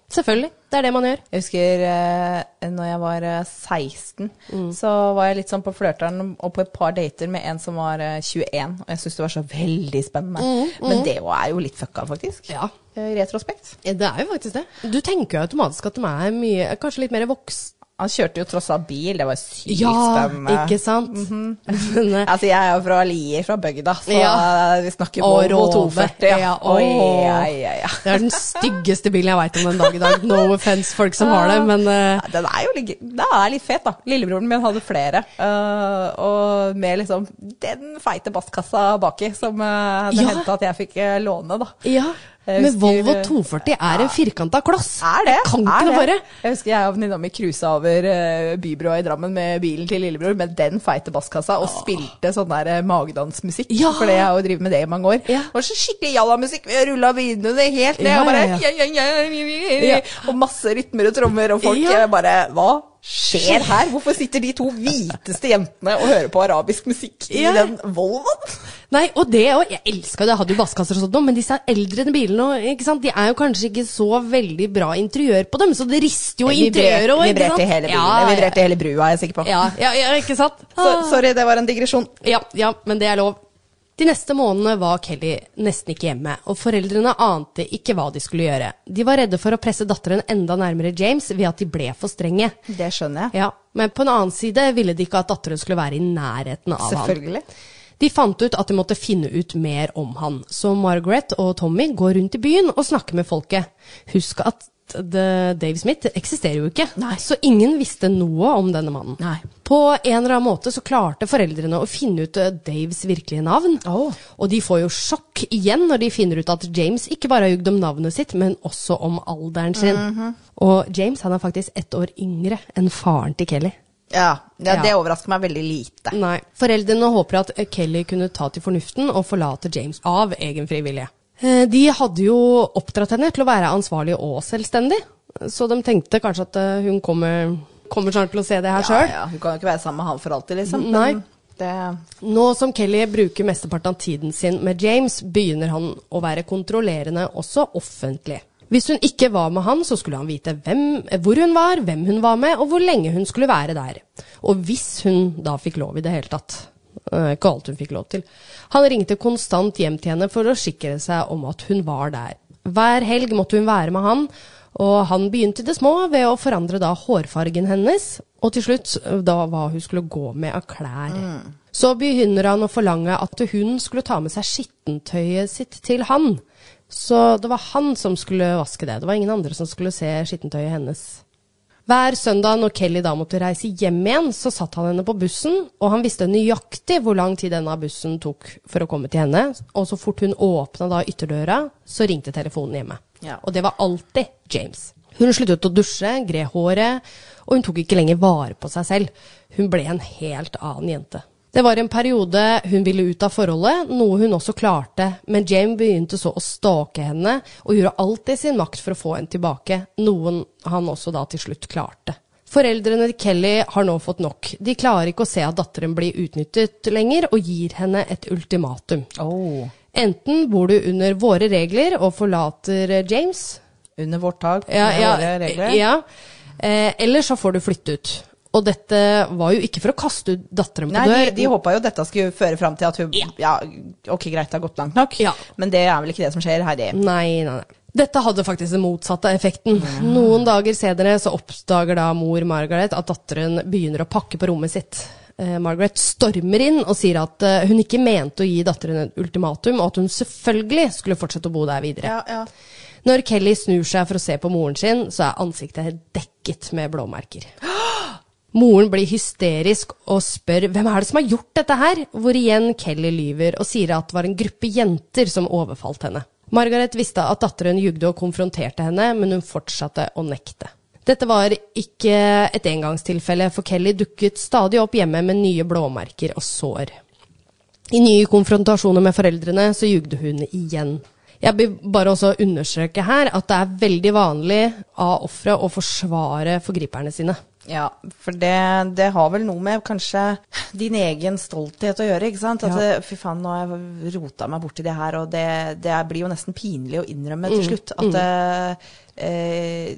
A: Selvfølgelig. Det er det man gjør.
B: Jeg husker eh, når jeg var eh, 16,
A: Mm.
B: så var jeg litt sånn på flørteren og på et par dater med en som var eh, 21, og jeg syntes det var så veldig spennende.
A: Mm,
B: Men det var- er jo litt fucka, faktisk.
A: Ja.
B: Eh, Retrospekt.
A: Ja, Det er jo faktisk det. Du tenker jo automatisk at de er mye, kanskje litt mer vokst.
B: Han kjørte jo tross alt bil, det var sykt spennende.
A: ikke sant? Men, eh,
B: Altså, jeg er jo fra Lier, fra bygda, så
A: Ja.
B: vi snakker
A: og
B: Volvo
A: Rove.
B: 240. Ja. Oi,
A: åh.
B: ja, ja, ja.
A: Det er den styggeste bilen jeg veit om den dag i dag. No offense folk som har det, men eh,
B: Ja, Den er jo litt, den er litt fet, da. Lillebroren min hadde flere. øh, og med liksom den feite basskassa baki, som øh, det
A: Ja.
B: hendte at jeg fikk øh, låne, da.
A: Ja.
B: Jeg
A: Men
B: husker- eh,
A: Volvo 240 eh, er en firkanta kloss.
B: Er det?
A: Jeg kan
B: er
A: ikke det bare.
B: Jeg husker jeg og venninna mi cruisa over uh, bybroa i Drammen med bilen til lillebror med den feite basskassa og spilte sånn der eh, magedansmusikk,
A: Ja.
B: for det jeg har jo drevet med det i mange år.
A: Ja.
B: Det var så skikkelig jallamusikk. Vi rulla vinduene helt ned
A: Ja,
B: og bare
A: ja,
B: ja, ja, ja, ja, ja, ja.
A: Ja.
B: Og masse rytmer og trommer, og folk
A: Ja.
B: eh, bare Hva skjer her? Hvorfor sitter de to hviteste jentene og hører på arabisk musikk i
A: Ja.
B: den Volvoen?
A: Nei, og det og Jeg elska det, jeg hadde jo basskasser og sånt nå, men disse eldre bilene og, ikke sant? de er jo kanskje ikke så veldig bra interiør på dem, så det rister jo i interiøret
B: Vibrerte
A: òg.
B: vibrerte hele bilen.
A: Ja, ja,
B: Vibrerte hele brua, er jeg sikker på.
A: ja, ja, ja, ikke sant?
B: Så,
A: Ah.
B: sorry, det var en digresjon.
A: Ja, ja, men det er lov. De neste månedene var Kelly nesten ikke hjemme, og foreldrene ante ikke hva de skulle gjøre. De var redde for å presse datteren enda nærmere James ved at de ble for strenge.
B: Det skjønner jeg.
A: Ja, Men på en annen side ville de ikke at datteren skulle være i nærheten av han.
B: Selvfølgelig.
A: De fant ut at de måtte finne ut mer om han, så Margaret og Tommy går rundt i byen og snakker med folket. Husk at The Dave Smith eksisterer jo ikke,
B: Nei.
A: så ingen visste noe om denne mannen.
B: Nei.
A: På en eller annen måte så klarte foreldrene å finne ut eh, Daves virkelige navn.
B: Åh.
A: Og de får jo sjokk igjen når de finner ut at James ikke bare har jugd om navnet sitt, men også om alderen sin.
B: Mhm.
A: Og James han er faktisk ett år yngre enn faren til Kelly.
B: Ja, ja,
A: Ja.
B: det overrasker meg veldig lite.
A: Nei. Foreldrene håper at eh, Kelly kunne ta til fornuften og forlate James av egen fri vilje. Eh, De hadde jo oppdratt henne til å være ansvarlig og selvstendig, så de tenkte kanskje at eh, hun kommer, kommer snart til å se det her
B: Ja,
A: sjøl.
B: ja, hun kan jo ikke være sammen med han for alltid, liksom. men
A: Nei.
B: Det,
A: Nå som Kelly bruker mesteparten av tiden sin med James, begynner han å være kontrollerende også offentlig. Hvis hun ikke var med han, så skulle han vite hvem, hvor hun var, hvem hun var med, og hvor lenge hun skulle være der. Og hvis hun da fikk lov i det hele tatt. Eh, Ikke alt hun fikk lov til. Han ringte konstant hjem til henne for å sikre seg om at hun var der. Hver helg måtte hun være med han, og han begynte i det små ved å forandre da hårfargen hennes, og til slutt eh, da hva hun skulle gå med av klær. Så begynner han å forlange at hun skulle ta med seg skittentøyet sitt til han. Så det var han som skulle vaske det, det var ingen andre som skulle se skittentøyet hennes. Hver søndag når Kelly da måtte reise hjem igjen, så satt han henne på bussen, og han visste nøyaktig hvor lang tid denne bussen tok for å komme til henne, og så fort hun åpna da ytterdøra, så ringte telefonen hjemme.
B: Ja.
A: Og det var alltid James. Hun sluttet å dusje, gred håret, og hun tok ikke lenger vare på seg selv. Hun ble en helt annen jente. Det var en periode hun ville ut av forholdet, noe hun også klarte, men Jame begynte så å stalke henne og gjorde alt i sin makt for å få henne tilbake, noe han også da til slutt klarte. Foreldrene til Kelly har nå fått nok. De klarer ikke å se at datteren blir utnyttet lenger, og gir henne et ultimatum. Enten bor du under våre regler og forlater eh, James,
B: Under vårt tak,
A: ja,
B: med
A: ja,
B: våre regler.
A: ja. Eh, eller så får du flytte ut. Og dette var jo ikke for å kaste ut datteren på
B: Nei, de,
A: dør.
B: de håpa jo dette skulle føre fram til at hun ja. ok, greit, det har gått langt nok,
A: Ja.
B: men det er vel ikke det som skjer her, det.
A: Nei, nei, nei. Dette hadde faktisk den motsatte effekten. Noen dager senere så oppdager da mor Margaret at datteren begynner å pakke på rommet sitt. Eh, Margaret stormer inn og sier at eh, hun ikke mente å gi datteren et ultimatum, og at hun selvfølgelig skulle fortsette å bo der videre.
B: Ja, ja.
A: Når Kelly snur seg for å se på moren sin, så er ansiktet dekket med blåmerker. Moren blir hysterisk og spør hvem er det som har gjort dette her, hvor igjen Kelly lyver og sier at det var en gruppe jenter som overfalt henne. Margaret visste at datteren jugde og konfronterte henne, men hun fortsatte å nekte. Dette var ikke et engangstilfelle, for Kelly dukket stadig opp hjemme med nye blåmerker og sår. I nye konfrontasjoner med foreldrene så jugde hun igjen. Jeg vil bare også understreke her at det er veldig vanlig av ofre å forsvare forgriperne sine.
B: Ja, for det, det har vel noe med kanskje din egen stolthet å gjøre, ikke sant? At
A: Ja.
B: det, fy faen, nå har jeg rota meg borti det her, og
A: Mm,
B: det, det blir jo nesten pinlig å innrømme til slutt. At eh, eh,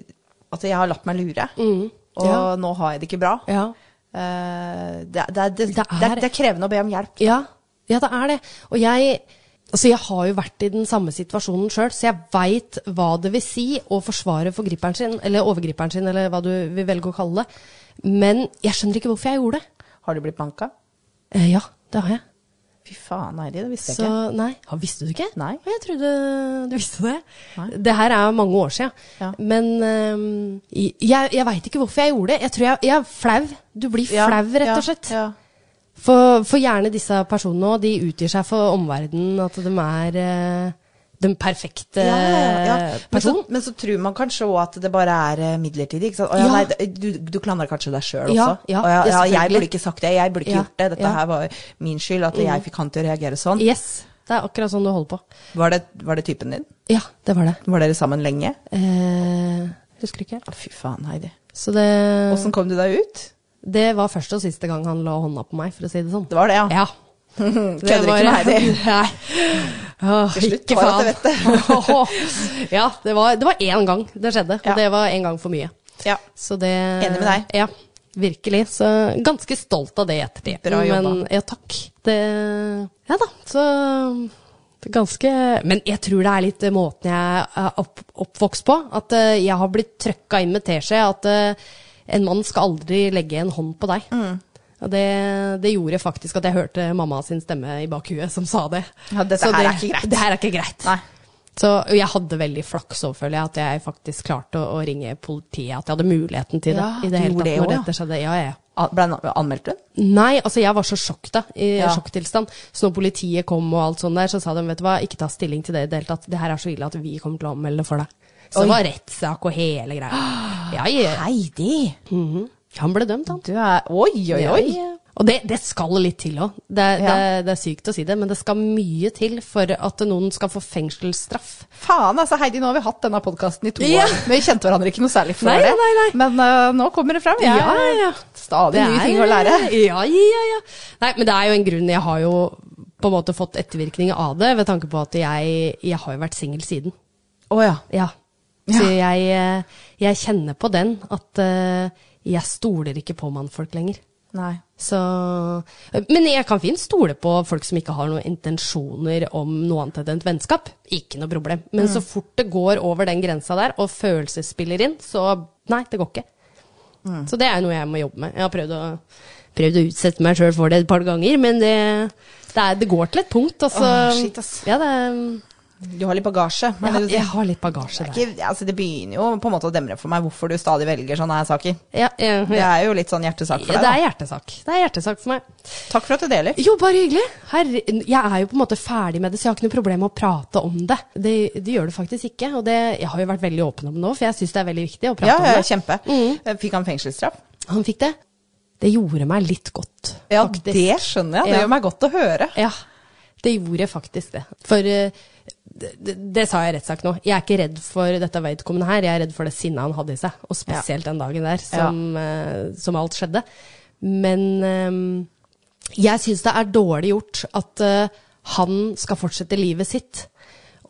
B: at jeg har latt meg lure, og
A: Mm, Ja.
B: nå har jeg det ikke bra.
A: Ja.
B: Eh, det, det, det,
A: Det
B: det,
A: er-
B: er, det er krevende å be om hjelp.
A: Ja, ja det er det. Og jeg, altså jeg har jo vært i den samme situasjonen sjøl, så jeg veit hva det vil si å forsvare forgriperen sin, eller overgriperen sin, eller hva du vil velge å kalle det. Men jeg skjønner ikke hvorfor jeg gjorde det.
B: Har du blitt banka?
A: Eh, ja, det har jeg.
B: Fy faen, Heidi, det visste
A: Så
B: jeg ikke.
A: nei. Ja, visste du ikke?
B: Nei.
A: Å, Jeg trodde du visste det.
B: Nei.
A: Det her er jo mange år siden.
B: Ja.
A: Men øhm, jeg, jeg veit ikke hvorfor jeg gjorde det. Jeg tror jeg, jeg er flau. Du blir
B: Ja,
A: flau, rett
B: ja,
A: og slett.
B: Ja.
A: For, for gjerne disse personene òg, de utgir seg for omverdenen at de er eh, den perfekte
B: Ja, ja, ja. Men, så,
A: eh, person.
B: men så tror man kanskje òg at det bare er eh, midlertidig. Ikke sant? Å, ja,
A: Ja.
B: nei, det- du, du klandrer kanskje deg sjøl
A: Ja,
B: også.
A: ja,
B: Å, ja, ja, jeg
A: selvfølgelig.
B: burde ikke sagt det, jeg burde ikke
A: Ja,
B: gjort det. Dette
A: ja. Mm.
B: her var min skyld, at jeg fikk han til å reagere sånn.
A: Yes, det er akkurat sånn du holder på.
B: Var det, var det typen din?
A: Ja, det var det.
B: Var dere sammen lenge?
A: Eh, husker ikke.
B: Å, fy faen, Heidi.
A: Så det,
B: Åssen kom du deg ut?
A: det var første og siste gang han la hånda på meg, for å si det sånn.
B: Det var det, ja.
A: Ja.
B: Kødder ikke med Heidi.
A: Nei. Åh,
B: Til slutt
A: ikke
B: var
A: faen.
B: det at
A: ja, det var, det var én gang det skjedde, og
B: Ja.
A: det var én gang for mye.
B: Ja.
A: Så det
B: Enig med deg.
A: Ja, virkelig. Så ganske stolt av det i ettertid.
B: Bra jobba.
A: Men ja, takk. Det Ja da, så det er Ganske Men jeg tror det er litt eh, måten jeg er opp, oppvokst på. At eh, jeg har blitt trøkka inn med teskje. At eh, en mann skal aldri legge en hånd på deg.
B: Mm.
A: Og det, det gjorde faktisk at jeg hørte mamma sin stemme i bakhuet som sa det.
B: Ja, dette
A: Så
B: her
A: det,
B: er ikke greit.
A: Det her er ikke greit.
B: Nei.
A: Så og jeg hadde veldig flaks òg, føler jeg, at jeg faktisk klarte å, å ringe politiet. At jeg hadde muligheten til det.
B: Ja,
A: i
B: du
A: det hele
B: gjorde
A: tatt
B: det
A: når
B: også, ja.
A: dette skjedde. Ja, ja.
B: An- Ble han anmeldt hun?
A: Nei, altså jeg var så sjokka, i
B: Ja.
A: sjokktilstand. Så når politiet kom og alt sånt der, så sa de vet du hva, ikke ta stilling til det i det hele tatt. Det her er så ille at vi kommer til å anmelde det for deg. Så
B: Oi.
A: det var rettssak og hele greia. Ja, ja.
B: Heidi!
A: Han ble dømt, han.
B: Du er Oi, oi,
A: Ja,
B: oi!
A: ja. Og det, det skal litt til òg. Det, er-
B: Ja.
A: det, er- det er sykt å si det, men det skal mye til for at noen skal få fengselsstraff.
B: Faen, altså Heidi, nå har vi hatt denne podkasten i to
A: Ja.
B: år. Men vi kjente hverandre ikke noe særlig før
A: Nei,
B: det.
A: nei, nei.
B: Men øh, nå kommer det fram. Jeg
A: Ja,
B: har
A: ja.
B: Stadig nye ting å lære.
A: Ja, ja, ja. Nei, men det er jo en grunn. Jeg har jo på en måte fått ettervirkninger av det, ved tanke på at jeg, jeg har jo vært singel siden.
B: Å ja.
A: Ja. Så jeg, eh, jeg kjenner på den at eh, jeg stoler ikke på mannfolk lenger.
B: Nei.
A: Så, men jeg kan fint stole på folk som ikke har noen intensjoner om noe annet enn et vennskap. Ikke noe problem. Men
B: Mm.
A: så fort det går over den grensa der, og følelser spiller inn, så nei, det går ikke.
B: Mm.
A: Så det er noe jeg må jobbe med. Jeg har prøvd å, prøvd å utsette meg sjøl for det et par ganger, men det, det, er, det går til et punkt. Altså,
B: Åh, shit, ass.
A: Ja, det,
B: Du har litt bagasje.
A: jeg,
B: Men det, du
A: jeg
B: sier,
A: har litt bagasje
B: det,
A: der.
B: er ikke, altså, det begynner jo på en måte å demre for meg hvorfor du stadig velger sånne her saker.
A: Ja, ja,
B: Det
A: ja.
B: er jo litt sånn hjertesak for
A: Det
B: deg.
A: er
B: Da.
A: hjertesak. Det er hjertesak for meg.
B: Takk for at du deler.
A: Jo, bare hyggelig. Herre, jeg er jo på en måte ferdig med det, så jeg har ikke noe problem med å prate om det. Det, det gjør det faktisk ikke. Og det, jeg har jo vært veldig åpen om det nå, for jeg syns det er veldig viktig å prate
B: Ja, Mm. ja,
A: om det.
B: kjempe. Fikk han fengselsstraff?
A: Han fikk det. Det gjorde meg litt godt,
B: Ja,
A: faktisk.
B: det skjønner jeg. Det
A: Ja.
B: gjør meg godt å høre.
A: Ja, det gjorde faktisk det. For eh, det, det, det sa jeg i rettssak nå. Jeg er ikke redd for dette vedkommende her, jeg er redd for det sinnet han hadde i seg. Og spesielt den dagen der som, eh, som alt skjedde. Men eh, jeg syns det er dårlig gjort at eh, han skal fortsette livet sitt.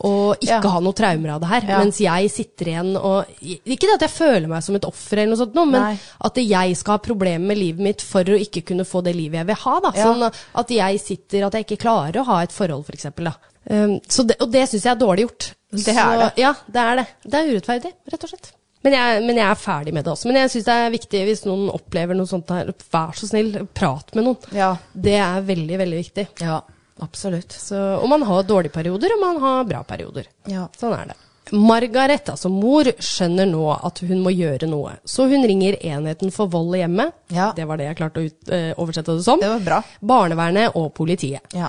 A: Og ikke
B: Ja.
A: ha noe traumer av det her.
B: Ja.
A: Mens jeg sitter igjen og Ikke det at jeg føler meg som et offer, eller noe sånt, nå, men
B: Nei.
A: at jeg skal ha problemer med livet mitt for å ikke kunne få det livet jeg vil ha. Da.
B: Ja.
A: Sånn at jeg sitter, at jeg ikke klarer å ha et forhold, for eksempel. Da. Um, så det, og det syns jeg er dårlig gjort.
B: Det
A: så,
B: er det.
A: Ja, det er det. Det er urettferdig, rett og slett. Men jeg, men jeg er ferdig med det også. Men jeg syns det er viktig hvis noen opplever noe sånt her, vær så snill, prat med noen.
B: Ja.
A: Det er veldig, veldig viktig.
B: Ja, absolutt.
A: Så, og man har dårlige perioder, og man har bra perioder.
B: Ja.
A: Sånn er det. Margaret, altså mor, skjønner nå at hun må gjøre noe, så hun ringer enheten for vold i hjemmet.
B: Ja.
A: Det var det jeg klarte å ut, eh, oversette det som.
B: Det var bra.
A: Barnevernet og politiet.
B: Ja.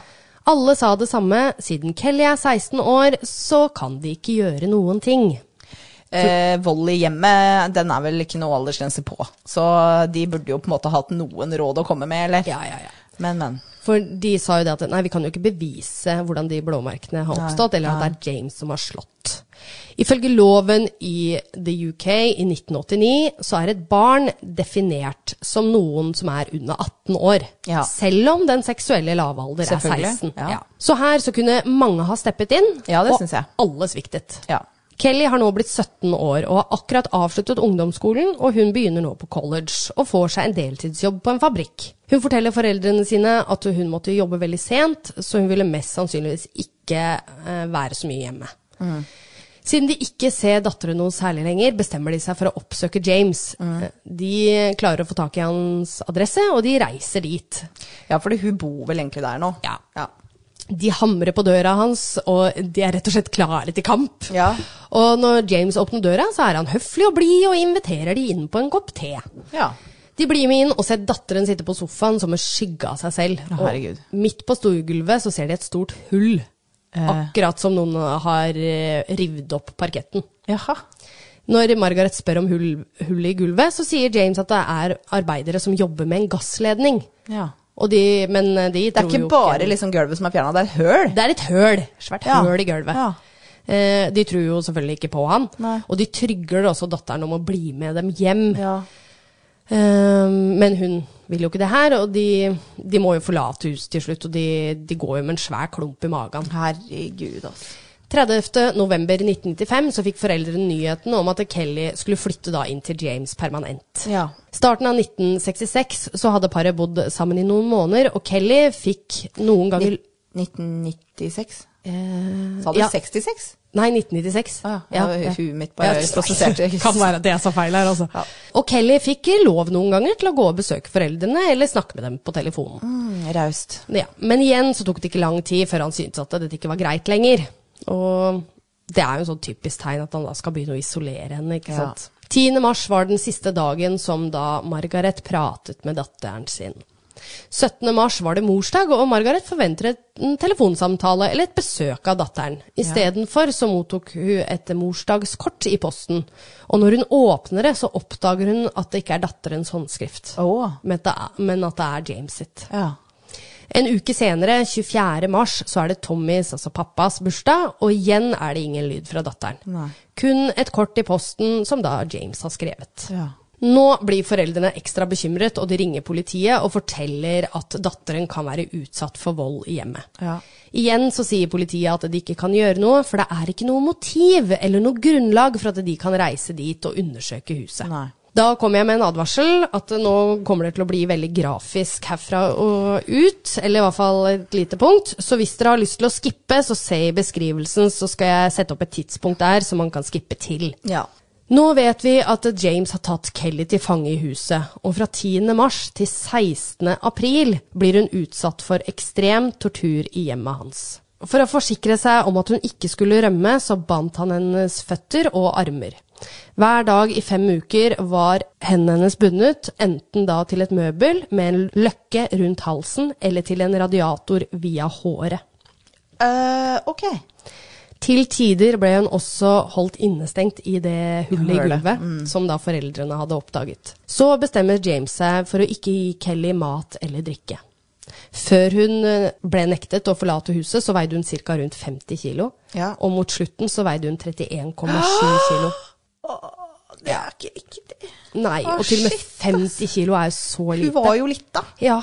A: Alle sa det samme. Siden Kelly er 16 år, så kan de ikke gjøre noen ting.
B: Eh, vold i hjemmet, den er vel ikke noe aldersgrense på. Så de burde jo på en måte hatt noen råd å komme med, eller?
A: Ja, ja, ja.
B: Men, men.
A: For de sa jo det at nei, vi kan jo ikke bevise hvordan de blåmerkene har
B: Nei,
A: oppstått, eller at det er James som har slått. Ifølge loven i the UK i 1989 så er et barn definert som noen som er under 18 år.
B: Ja.
A: Selv om den seksuelle lavalder er
B: Selvfølgelig,
A: 16.
B: ja.
A: Så her så kunne mange ha steppet inn,
B: Ja, det
A: og
B: synes jeg.
A: alle sviktet.
B: Ja.
A: Kelly har nå blitt 17 år og har akkurat avsluttet ungdomsskolen, og hun begynner nå på college og får seg en deltidsjobb på en fabrikk. Hun forteller foreldrene sine at hun måtte jobbe veldig sent, så hun ville mest sannsynligvis ikke eh, være så mye hjemme. Siden de ikke ser datteren noe særlig lenger, bestemmer de seg for å oppsøke James. De klarer å få tak i hans adresse, og de reiser dit.
B: Ja, fordi hun bor vel egentlig der nå.
A: Ja.
B: Ja.
A: De hamrer på døra hans, og de er rett og slett klare til kamp.
B: Ja.
A: Og når James åpner døra, så er han høflig og blid og inviterer de inn på en kopp te.
B: Ja.
A: De blir med inn og ser datteren sitte på sofaen som en skygge av seg selv.
B: Å, herregud.
A: Og midt på storgulvet så ser de et stort hull,
B: Eh.
A: akkurat som noen har eh, rivd opp parketten.
B: Jaha.
A: Når Margaret spør om hull, hullet i gulvet, så sier James at det er arbeidere som jobber med en gassledning.
B: Ja.
A: Og de, men eh, de
B: Det er
A: tror jo
B: ikke bare liksom gulvet som er fjerna, det er et høl.
A: Det er et høl. Svært
B: Ja.
A: høl i gulvet.
B: Ja.
A: Eh, de tror jo selvfølgelig ikke på han.
B: Nei.
A: Og de trygler også datteren om å bli med dem hjem.
B: Ja.
A: Eh, men hun vil jo ikke det her, og de, de må jo forlate huset til slutt. Og de, de går jo med en svær klump i magen.
B: Herregud, altså.
A: 30. november 1995 så fikk foreldrene nyheten om at Kelly skulle flytte da inn til James permanent.
B: Ja.
A: Starten av 1966 så hadde paret bodd sammen i noen måneder, og Kelly fikk noen ganger
B: Ni- 1996?
A: eh,
B: Sa du
A: ja.
B: 66?
A: Nei, 1996.
B: Å ja, ja, huet mitt bare prosesserte.
A: Kan være at jeg sa feil her, altså.
B: Ja.
A: Og Kelly fikk lov noen ganger til å gå og besøke foreldrene eller snakke med dem på telefonen.
B: Mm, Raust.
A: Ja. Men igjen så tok det ikke lang tid før han syntes at dette ikke var greit lenger. Og det er jo en sånn typisk tegn at han da skal begynne å isolere henne, ikke
B: Ja.
A: sant. 10. mars var den siste dagen som da Margaret pratet med datteren sin. 17. mars var det morsdag, og Margaret forventer en telefonsamtale eller et besøk av datteren. Istedenfor så mottok hun et morsdagskort i posten, og når hun åpner det, så oppdager hun at det ikke er datterens håndskrift,
B: Å.
A: men at det er- men at det er James sitt.
B: Ja.
A: En uke senere, 24. mars, så er det Tommys, altså pappas, bursdag, og igjen er det ingen lyd fra datteren.
B: Nei.
A: Kun et kort i posten som da James har skrevet.
B: Ja.
A: Nå blir foreldrene ekstra bekymret, og de ringer politiet og forteller at datteren kan være utsatt for vold i hjemmet.
B: Ja.
A: Igjen så sier politiet at de ikke kan gjøre noe, for det er ikke noe motiv eller noe grunnlag for at de kan reise dit og undersøke huset.
B: Nei.
A: Da kom jeg med en advarsel at nå kommer det til å bli veldig grafisk herfra og ut, eller i hvert fall et lite punkt. Så hvis dere har lyst til å skippe, så se i beskrivelsen, så skal jeg sette opp et tidspunkt der som man kan skippe til.
B: Ja.
A: Nå vet vi at James har tatt Kelly til fange i huset, og fra 10. mars til 16. april blir hun utsatt for ekstrem tortur i hjemmet hans. For å forsikre seg om at hun ikke skulle rømme, så bandt han hennes føtter og armer. Hver dag i fem uker var hendene hennes bundet, enten da til et møbel med en løkke rundt halsen, eller til en radiator via håret.
B: Eh, ok.
A: Til tider ble hun også holdt innestengt i det hullet i
B: Hullet, Mm.
A: gulvet, som da foreldrene hadde oppdaget. Så bestemmer James seg for å ikke gi Kelly mat eller drikke. Før hun eh, ble nektet å forlate huset, så veide hun ca. rundt 50 kilo.
B: Ja.
A: Og mot slutten så veide hun 31,7 kilo.
B: Det er ikke riktig.
A: Nei,
B: Å,
A: og til og med 50
B: shit,
A: kilo er jo så
B: Hun
A: lite.
B: var jo litt, da.
A: Ja,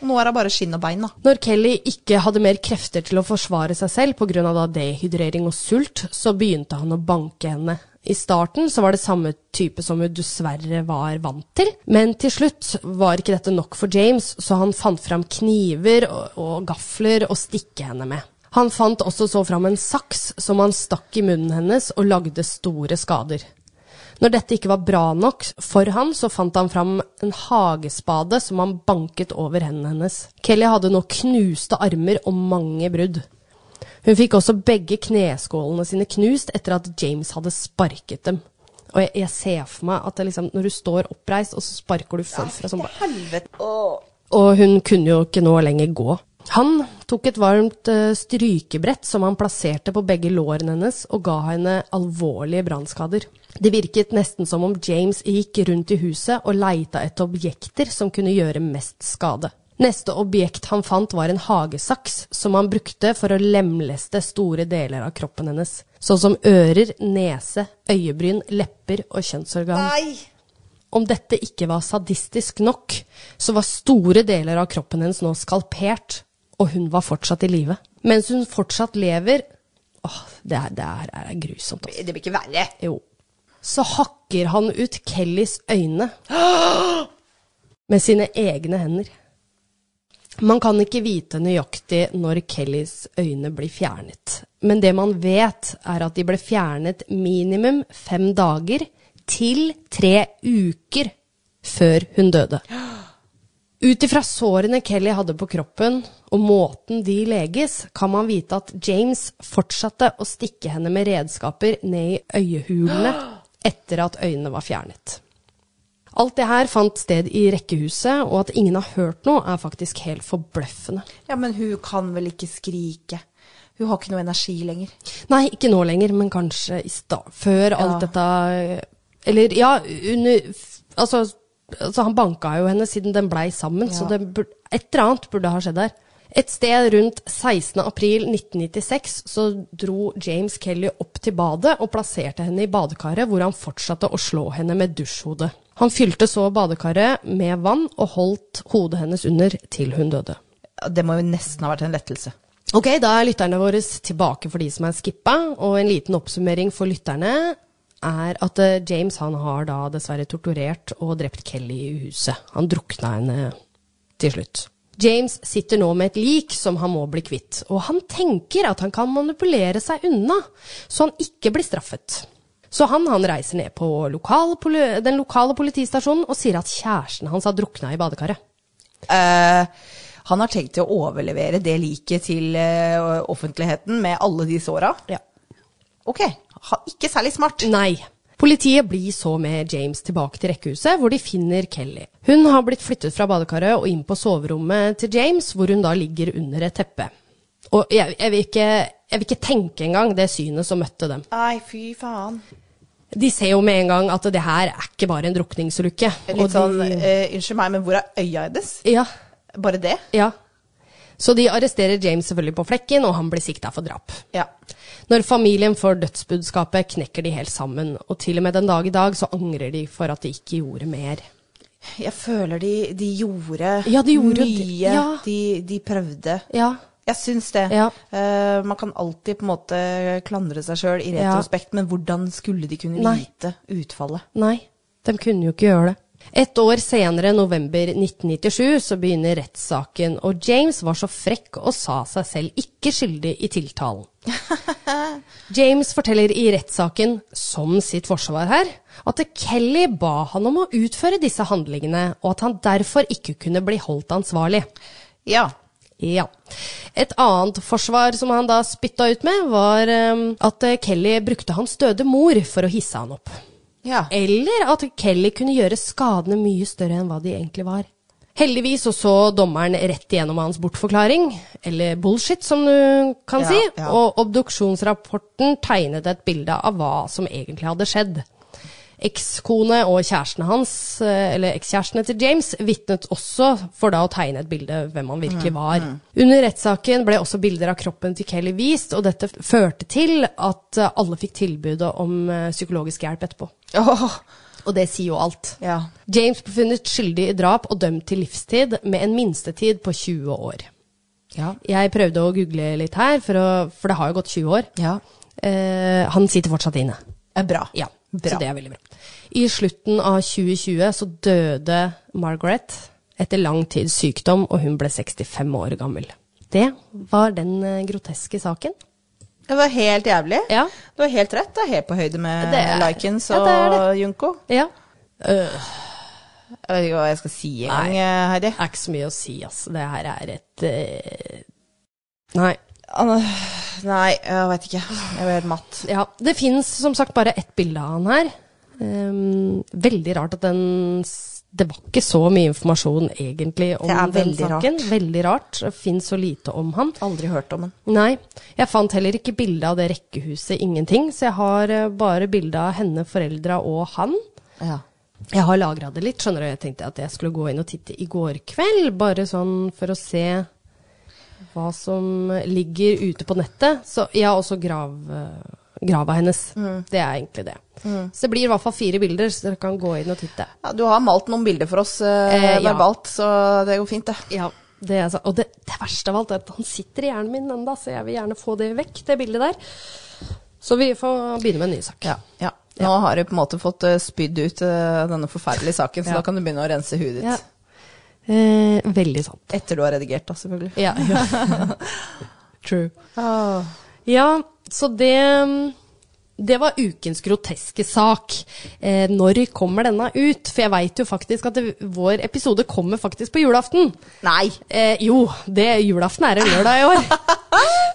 B: Nå er det bare skinn og bein, da.
A: Når Kelly ikke hadde mer krefter til å forsvare seg selv pga. dehydrering og sult, så begynte han å banke henne. I starten så var det samme type som hun dessverre var vant til, men til slutt var ikke dette nok for James, så han fant fram kniver og, og gafler å stikke henne med. Han fant også så fram en saks som han stakk i munnen hennes og lagde store skader. Når dette ikke var bra nok for han, så fant han fram en hagespade som han banket over hendene hennes. Kelly hadde nå knuste armer og mange brudd. Hun fikk også begge kneskålene sine knust etter at James hadde sparket dem. Og jeg, jeg ser for meg at det liksom, når du står oppreist, og så sparker du folk fra sånn
B: Helvete.
A: og hun kunne jo ikke nå lenger gå. Han tok et varmt eh, strykebrett som han plasserte på begge lårene hennes, og ga henne alvorlige brannskader. Det virket nesten som om James gikk rundt i huset og leita etter objekter som kunne gjøre mest skade. Neste objekt han fant var en hagesaks, som han brukte for å lemleste store deler av kroppen hennes, sånn som ører, nese, øyebryn, lepper og kjønnsorgan.
B: Nei.
A: Om dette ikke var sadistisk nok, så var store deler av kroppen hennes nå skalpert, og hun var fortsatt i live. Mens hun fortsatt lever, Åh, det her, det her er grusomt, altså.
B: Det blir ikke verre.
A: Jo. Så hakker han ut Kellys øyne med sine egne hender. Man kan ikke vite nøyaktig når Kellys øyne blir fjernet, men det man vet, er at de ble fjernet minimum fem dager til tre uker før hun døde. Ut ifra sårene Kelly hadde på kroppen, og måten de leges, kan man vite at James fortsatte å stikke henne med redskaper ned i øyehulene etter at øynene var fjernet. Alt det her fant sted i rekkehuset, og at ingen har hørt noe, er faktisk helt forbløffende.
B: Ja, men hun kan vel ikke skrike? Hun har ikke noe energi lenger.
A: Nei, ikke nå lenger, men kanskje i sta før alt dette Eller ja, under f- altså, altså, han banka jo henne siden den blei sammen, så det bur- et eller annet burde ha skjedd der. Et sted rundt 16. april 1996 så dro James Kelly opp til badet og plasserte henne i badekaret, hvor han fortsatte å slå henne med dusjhodet. Han fylte så badekaret med vann og holdt hodet hennes under til hun døde.
B: Det må jo nesten ha vært en lettelse.
A: Ok, da er lytterne våre tilbake for de som er skippa, og en liten oppsummering for lytterne er at eh, James han har da dessverre torturert og drept Kelly i huset. Han drukna henne til slutt. James sitter nå med et lik som han må bli kvitt, og han tenker at han kan manipulere seg unna, så han ikke blir straffet. Så han, han reiser ned på lokal, poli- den lokale politistasjonen og sier at kjæresten hans har drukna i badekaret.
B: Eh, han har tenkt til å overlevere det liket til eh, offentligheten med alle de såra.
A: Ja.
B: Ok, ha, ikke særlig smart.
A: Nei. Politiet blir så med James tilbake til rekkehuset, hvor de finner Kelly. Hun har blitt flyttet fra badekaret og inn på soverommet til James, hvor hun da ligger under et teppe. Og jeg, jeg, vil, ikke, jeg vil ikke tenke engang det synet som møtte dem.
B: Nei, fy faen.
A: De ser jo med en gang at det her er ikke bare en drukningsulykke. og
B: Litt sånn,
A: de-
B: eh, unnskyld meg, men hvor er øya hennes?
A: Ja,
B: Bare det?
A: ja. Så de arresterer James selvfølgelig på flekken, og han blir sikta for drap.
B: Ja.
A: Når familien får dødsbudskapet, knekker de helt sammen, og til og med den dag i dag så angrer de for at de ikke gjorde mer.
B: Jeg føler de, de gjorde
A: Ja, de gjorde
B: mye.
A: det. Ja.
B: De, de prøvde.
A: Ja,
B: Jeg syns det.
A: Ja.
B: Eh, man kan alltid på en måte klandre seg sjøl i
A: Ja.
B: retrospekt, men hvordan skulle de kunne
A: Nei.
B: vite utfallet?
A: Nei, de kunne jo ikke gjøre det. Et år senere, november 1997, så begynner rettssaken, og James var så frekk og sa seg selv ikke skyldig i tiltalen. James forteller i rettssaken, som sitt forsvar her, at Kelly ba han om å utføre disse handlingene, og at han derfor ikke kunne bli holdt ansvarlig.
B: Ja.
A: Ja. Et annet forsvar som han da spytta ut med, var eh, at Kelly brukte hans døde mor for å hisse han opp.
B: ja.
A: Eller at Kelly kunne gjøre skadene mye større enn hva de egentlig var. Heldigvis så, så dommeren rett igjennom hans bortforklaring, eller bullshit som du kan
B: Ja,
A: si,
B: ja.
A: og obduksjonsrapporten tegnet et bilde av hva som egentlig hadde skjedd. Ekskone og kjærestene hans, eh, eller ekskjærestene til James, vitnet også for da å tegne et bilde av hvem han
B: Mm,
A: virkelig var. Under rettssaken ble også bilder av kroppen til Kelly vist, og dette f- førte til at eh, alle fikk tilbudet om eh, psykologisk hjelp etterpå.
B: Åh,
A: Og det sier jo alt.
B: ja.
A: James ble funnet skyldig i drap og dømt til livstid med en minstetid på 20 år.
B: Ja.
A: Jeg prøvde å google litt her, for, å, for det har jo gått 20 år.
B: Ja.
A: Eh, han sitter fortsatt inne.
B: Eh, Bra.
A: Ja,
B: Bra.
A: Så det er veldig bra. I slutten av 2020 så døde Margaret etter lang tids sykdom, og hun ble 65 år gammel. Det var den eh, groteske saken.
B: Det var helt jævlig.
A: Ja.
B: Du har helt rett. Det er helt på høyde med
A: Det er-
B: Likens
A: Ja,
B: og
A: det er
B: Junko.
A: Ja.
B: Jeg vet ikke hva jeg skal si engang,
A: Nei.
B: eh, Heidi.
A: Det er ikke så mye å si, altså. Det her er et eh, Nei.
B: Anne- Nei, jeg veit ikke. Jeg blir helt matt.
A: Ja, det finnes som sagt bare ett bilde av han her. Ehm, veldig rart at den s- Det var ikke så mye informasjon egentlig om
B: Det er
A: den
B: veldig
A: saken. Veldig rart. Det fins så lite om han.
B: Aldri hørt om den.
A: Nei. Jeg fant heller ikke bilde av det rekkehuset, ingenting. Så jeg har eh, bare bilde av henne, foreldra og han.
B: Ja.
A: Jeg har lagra det litt, skjønner du. Jeg tenkte at jeg skulle gå inn og titte i går kveld, bare sånn for å se hva som ligger ute på nettet. Så jeg har også grav, eh, grava hennes. Det er egentlig det. Så det blir i hvert fall fire bilder, så dere kan gå inn og titte.
B: Ja, du har malt noen bilder for oss eh,
A: Eh, ja.
B: verbalt, så det går fint, det.
A: Ja. Det jeg sa. Og det, det verste av alt er at han sitter i hjernen min ennå, så jeg vil gjerne få det vekk, det bildet der. Så vi får begynne med en ny sak.
B: Ja. ja. Nå har du på en måte fått eh, spydd ut eh, denne forferdelige saken, så
A: Ja.
B: da kan du begynne å rense huet ditt.
A: Ja. Eh, veldig sant.
B: Etter du har redigert, da, selvfølgelig.
A: Ja. True. Ja, så det Det var ukens groteske sak. Eh, når kommer denne ut? For jeg veit jo faktisk at det, vår episode kommer faktisk på julaften.
B: Nei!
A: Eh, jo, det, julaften er en lørdag i år.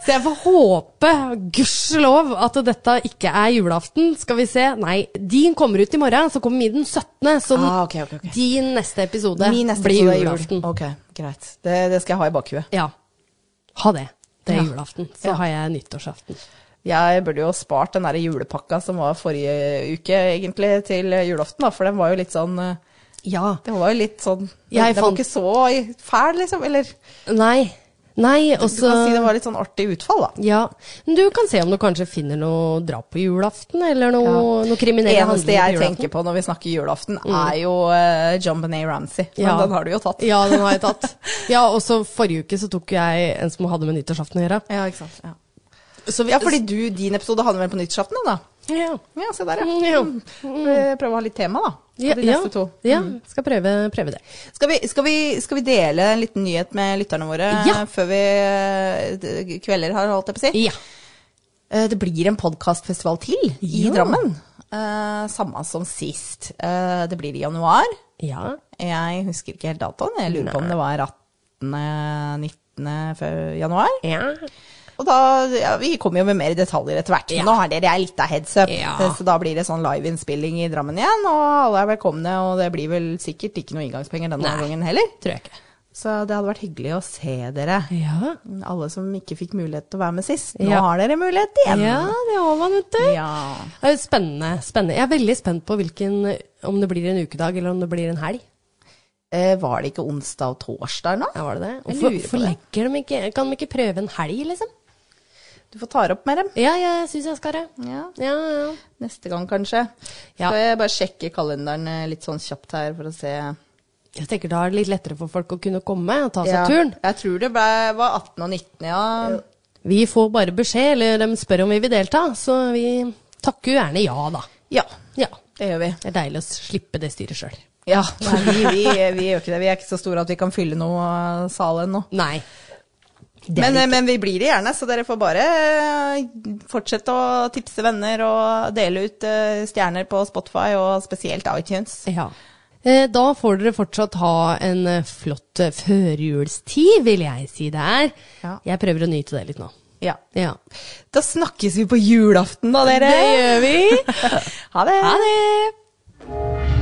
A: Så jeg får håpe, gudskjelov, at dette ikke er julaften. Skal vi se. Nei, din kommer ut i morgen, så kommer min den 17. Så den-
B: Ah, ok, ok, ok.
A: din neste episode
B: Min neste
A: blir
B: episode er jul.
A: julaften.
B: Ok, greit. Det, det skal jeg ha i bakhuet.
A: Ja. Ha det. Det er
B: Ja.
A: julaften. Så
B: Ja.
A: har jeg nyttårsaften.
B: Jeg burde jo spart den der julepakka som var forrige uke, egentlig, til julaften, da, for den var jo litt sånn eh,
A: Ja.
B: Den var jo litt sånn Den,
A: Jeg
B: den var
A: fant-
B: ikke så fæl, liksom. Eller
A: Nei. Nei, og
B: du kan si det
A: så
B: var litt sånn artig utfall, da.
A: ja. Men du kan se om du kanskje finner noe drap på julaften, eller noe, noe kriminelle
B: eneste jeg
A: handlinger på
B: tenker på når vi snakker julaften, er jo uh, John Benet Ramsey. Men
A: Mm. Ja.
B: den har du jo tatt.
A: Ja, den har jeg tatt. Ja, og så forrige uke så tok jeg en som hadde med nyttårsaften å gjøre.
B: Ja, ikke sant. Ja.
A: Så vi-
B: ja, fordi du, din episode hadde vel på nyttårsaften, da?
A: Ja.
B: Ja, se der,
A: Mm,
B: ja.
A: ja.
B: Mm. Eh, Prøve å ha litt tema, da. På
A: Ja,
B: de neste to. Mm.
A: ja, skal prøve, prøve det.
B: Skal vi, skal, vi, skal vi dele en liten nyhet med lytterne våre
A: Ja.
B: eh, før vi eh, d- kvelder har, holdt jeg på å si?
A: Ja.
B: Eh, Det blir en podkastfestival til i
A: Ja.
B: Drammen. Eh, samme som sist. Eh, det blir i januar.
A: Ja.
B: Jeg husker ikke helt datoen. Jeg lurer på om det var 18.-19. januar.
A: Ja.
B: Og da, ja, Vi kommer jo med mer detaljer etter hvert. men
A: Ja.
B: Nå har dere litt av heads up.
A: Ja.
B: Så da blir det sånn liveinnspilling i Drammen igjen. Og alle er velkomne. Og det blir vel sikkert ikke noe inngangspenger denne
A: Nei.
B: gangen heller.
A: Tror jeg ikke.
B: Så det hadde vært hyggelig å se dere.
A: Ja.
B: Alle som ikke fikk mulighet til å være med sist. Nå
A: Ja.
B: har dere mulighet igjen.
A: Ja, det har man, vet du.
B: Ja.
A: Det er Spennende. spennende. Jeg er veldig spent på hvilken, om det blir en ukedag eller om det blir en helg.
B: Eh, var det ikke onsdag og torsdag nå?
A: Ja, var det det?
B: Jeg
A: Hvorfor,
B: lurer på
A: hvorfor
B: det.
A: legger de ikke Kan de ikke prøve en helg, liksom?
B: Du får ta det opp med dem.
A: Ja, jeg syns jeg skal det.
B: Ja.
A: Ja, ja.
B: Neste gang, kanskje.
A: Ja.
B: Skal jeg bare sjekke kalenderen eh, litt sånn kjapt her for å se
A: Jeg tenker da er det litt lettere for folk å kunne komme og ta seg
B: Ja,
A: turen.
B: Jeg tror det ble, var 18 og 19, ja.
A: Vi får bare beskjed, eller de spør om vi vil delta, så vi takker jo gjerne ja, da.
B: Ja,
A: Ja.
B: det gjør vi.
A: Det er deilig å slippe det styret sjøl.
B: Ja, Nei, vi, vi, vi gjør ikke det. Vi er ikke så store at vi kan fylle noe eh, sal ennå.
A: Nei. Det er
B: Men, eh,
A: ikke-
B: men vi blir det gjerne, så dere får bare eh, fortsette å tipse venner og dele ut eh, stjerner på Spotify og spesielt iTunes.
A: ja. Eh, Da får dere fortsatt ha en eh, flott eh, førjulstid, vil jeg si det er.
B: Ja.
A: Jeg prøver å nyte det litt nå.
B: Ja.
A: Ja.
B: Da snakkes vi på julaften, da, dere.
A: Det gjør
B: vi. ha det.
A: Ha det!